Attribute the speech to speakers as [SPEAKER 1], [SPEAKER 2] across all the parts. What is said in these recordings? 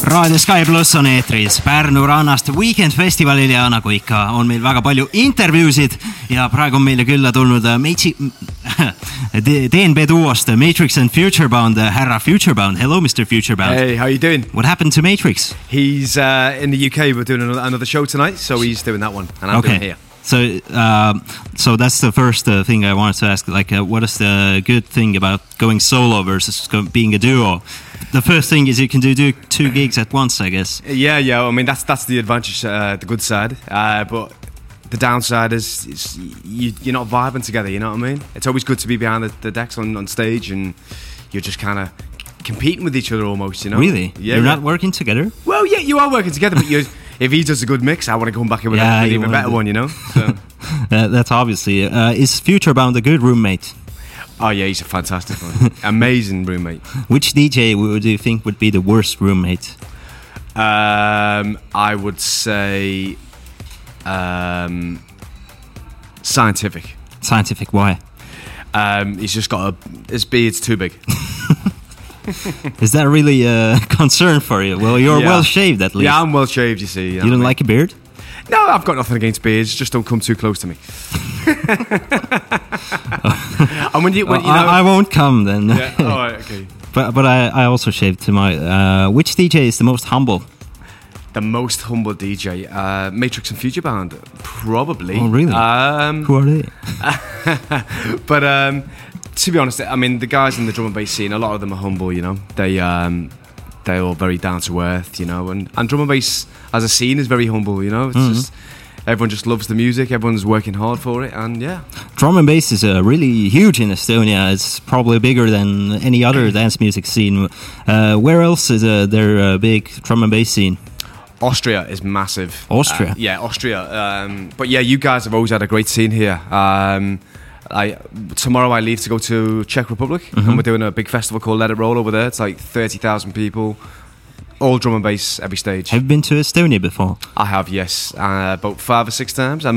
[SPEAKER 1] raadio Sky pluss on eetris Pärnu rannast Weekend festivalil ja nagu ikka, on meil väga palju intervjuusid ja praegu on meile külla tulnud äh, Meitsi DNB duost Matrix and Futurebound äh, härra Futurebound, hello Mr Futurebound.
[SPEAKER 2] Hey, how you doing?
[SPEAKER 1] What happened to Matrix?
[SPEAKER 2] He's uh, in the UK. We're doing another, another show tonight, so he's doing that one, and I'm doing it
[SPEAKER 1] Okay,
[SPEAKER 2] here.
[SPEAKER 1] so uh, so that's the first uh, thing I wanted to ask. Like, uh, what is the good thing about going solo versus go- being a duo? The first thing is you can do, do two gigs at once, I guess.
[SPEAKER 2] Yeah, yeah. I mean, that's that's the advantage, uh, the good side. Uh, but the downside is it's, you, you're not vibing together. You know what I mean? It's always good to be behind the, the decks on, on stage, and you're just kind of competing with each other almost. You know?
[SPEAKER 1] Really?
[SPEAKER 2] Yeah.
[SPEAKER 1] You're
[SPEAKER 2] yeah.
[SPEAKER 1] not working together?
[SPEAKER 2] well, yeah, you are working together, but you're. If he does a good mix, I want to come back in with
[SPEAKER 1] Yeah,
[SPEAKER 2] an
[SPEAKER 1] you
[SPEAKER 2] even
[SPEAKER 1] wanna
[SPEAKER 2] better
[SPEAKER 1] do-
[SPEAKER 2] one, you know. So,
[SPEAKER 1] Uh, that's obviously. Uh, is Futurebound a good roommate?
[SPEAKER 2] oh yeah, he's a fantastic one, amazing roommate.
[SPEAKER 1] Which DJ would you think would be the worst roommate?
[SPEAKER 2] Um, I would say um, scientific.
[SPEAKER 1] Scientific, why?
[SPEAKER 2] Um, he's just got a his beard's too big.
[SPEAKER 1] Is that really a concern for you? Well, you're
[SPEAKER 2] Yeah.
[SPEAKER 1] well shaved at least.
[SPEAKER 2] yeah, I'm well shaved. You see,
[SPEAKER 1] you don't like a beard?
[SPEAKER 2] No, I've got nothing against beards. Just don't come too close to me. and when you, when, you know,
[SPEAKER 1] Uh, I, I won't come then.
[SPEAKER 2] yeah, all right, okay.
[SPEAKER 1] but but I, I also shaved to my. Uh, which DJ is the most humble?
[SPEAKER 2] The most humble DJ, uh, Matrix and Future Band, probably.
[SPEAKER 1] Oh, really?
[SPEAKER 2] Um,
[SPEAKER 1] Who are they?
[SPEAKER 2] But um, to be honest, I mean, the guys in the drum and bass scene, a lot of them are humble, you know. They um, they're all very down to earth, you know. And, and drum and bass as a scene is very humble, you know. It's just everyone just loves the music. Everyone's working hard for it, and yeah,
[SPEAKER 1] Drum and bass is uh, really huge in Estonia. It's probably bigger than any other dance music scene. Uh, where else is uh, there a big drum and bass scene?
[SPEAKER 2] Austria is massive.
[SPEAKER 1] Austria?
[SPEAKER 2] Uh, yeah, Austria. Um, but yeah, you guys have always had a great scene here. Um, I, tomorrow I leave to go to Czech Republic, and we're doing a big festival called Let It Roll over there. It's like thirty thousand people, all drum and bass, every stage.
[SPEAKER 1] Have you been to Estonia before?
[SPEAKER 2] I have, yes, uh, about five or six times. i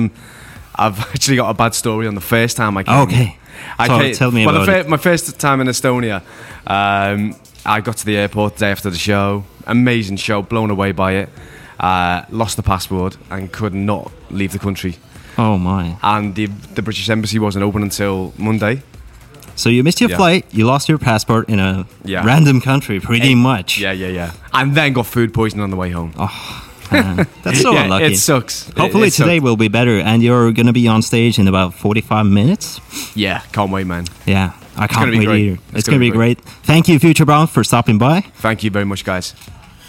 [SPEAKER 2] I've actually got a bad story on the first time I came.
[SPEAKER 1] Okay.
[SPEAKER 2] I
[SPEAKER 1] Tell- tell me
[SPEAKER 2] well, the
[SPEAKER 1] about
[SPEAKER 2] fir- My first time in Estonia, um, I got to the airport the day after the show. Amazing show, blown away by it. Uh, lost the passport and could not leave the country.
[SPEAKER 1] Oh my!
[SPEAKER 2] And the, the British embassy wasn't open until Monday.
[SPEAKER 1] So you missed your
[SPEAKER 2] Yeah.
[SPEAKER 1] flight, you lost your passport in a
[SPEAKER 2] Yeah.
[SPEAKER 1] random country, pretty much.
[SPEAKER 2] Yeah, yeah, yeah. And then got food poisoning on the way home.
[SPEAKER 1] Uh, that's Oh, so
[SPEAKER 2] yeah,
[SPEAKER 1] unlucky.
[SPEAKER 2] It sucks. It-
[SPEAKER 1] Hopefully
[SPEAKER 2] it sucks.
[SPEAKER 1] today will be better, and you're gonna be on stage in about 45 minutes.
[SPEAKER 2] Yeah, can't wait, man.
[SPEAKER 1] Yeah, I can't
[SPEAKER 2] gonna be
[SPEAKER 1] wait
[SPEAKER 2] great.
[SPEAKER 1] either. It's,
[SPEAKER 2] It's
[SPEAKER 1] gonna, be
[SPEAKER 2] gonna be
[SPEAKER 1] great. Thank you, Future Brown, for stopping by.
[SPEAKER 2] Thank you very much, guys.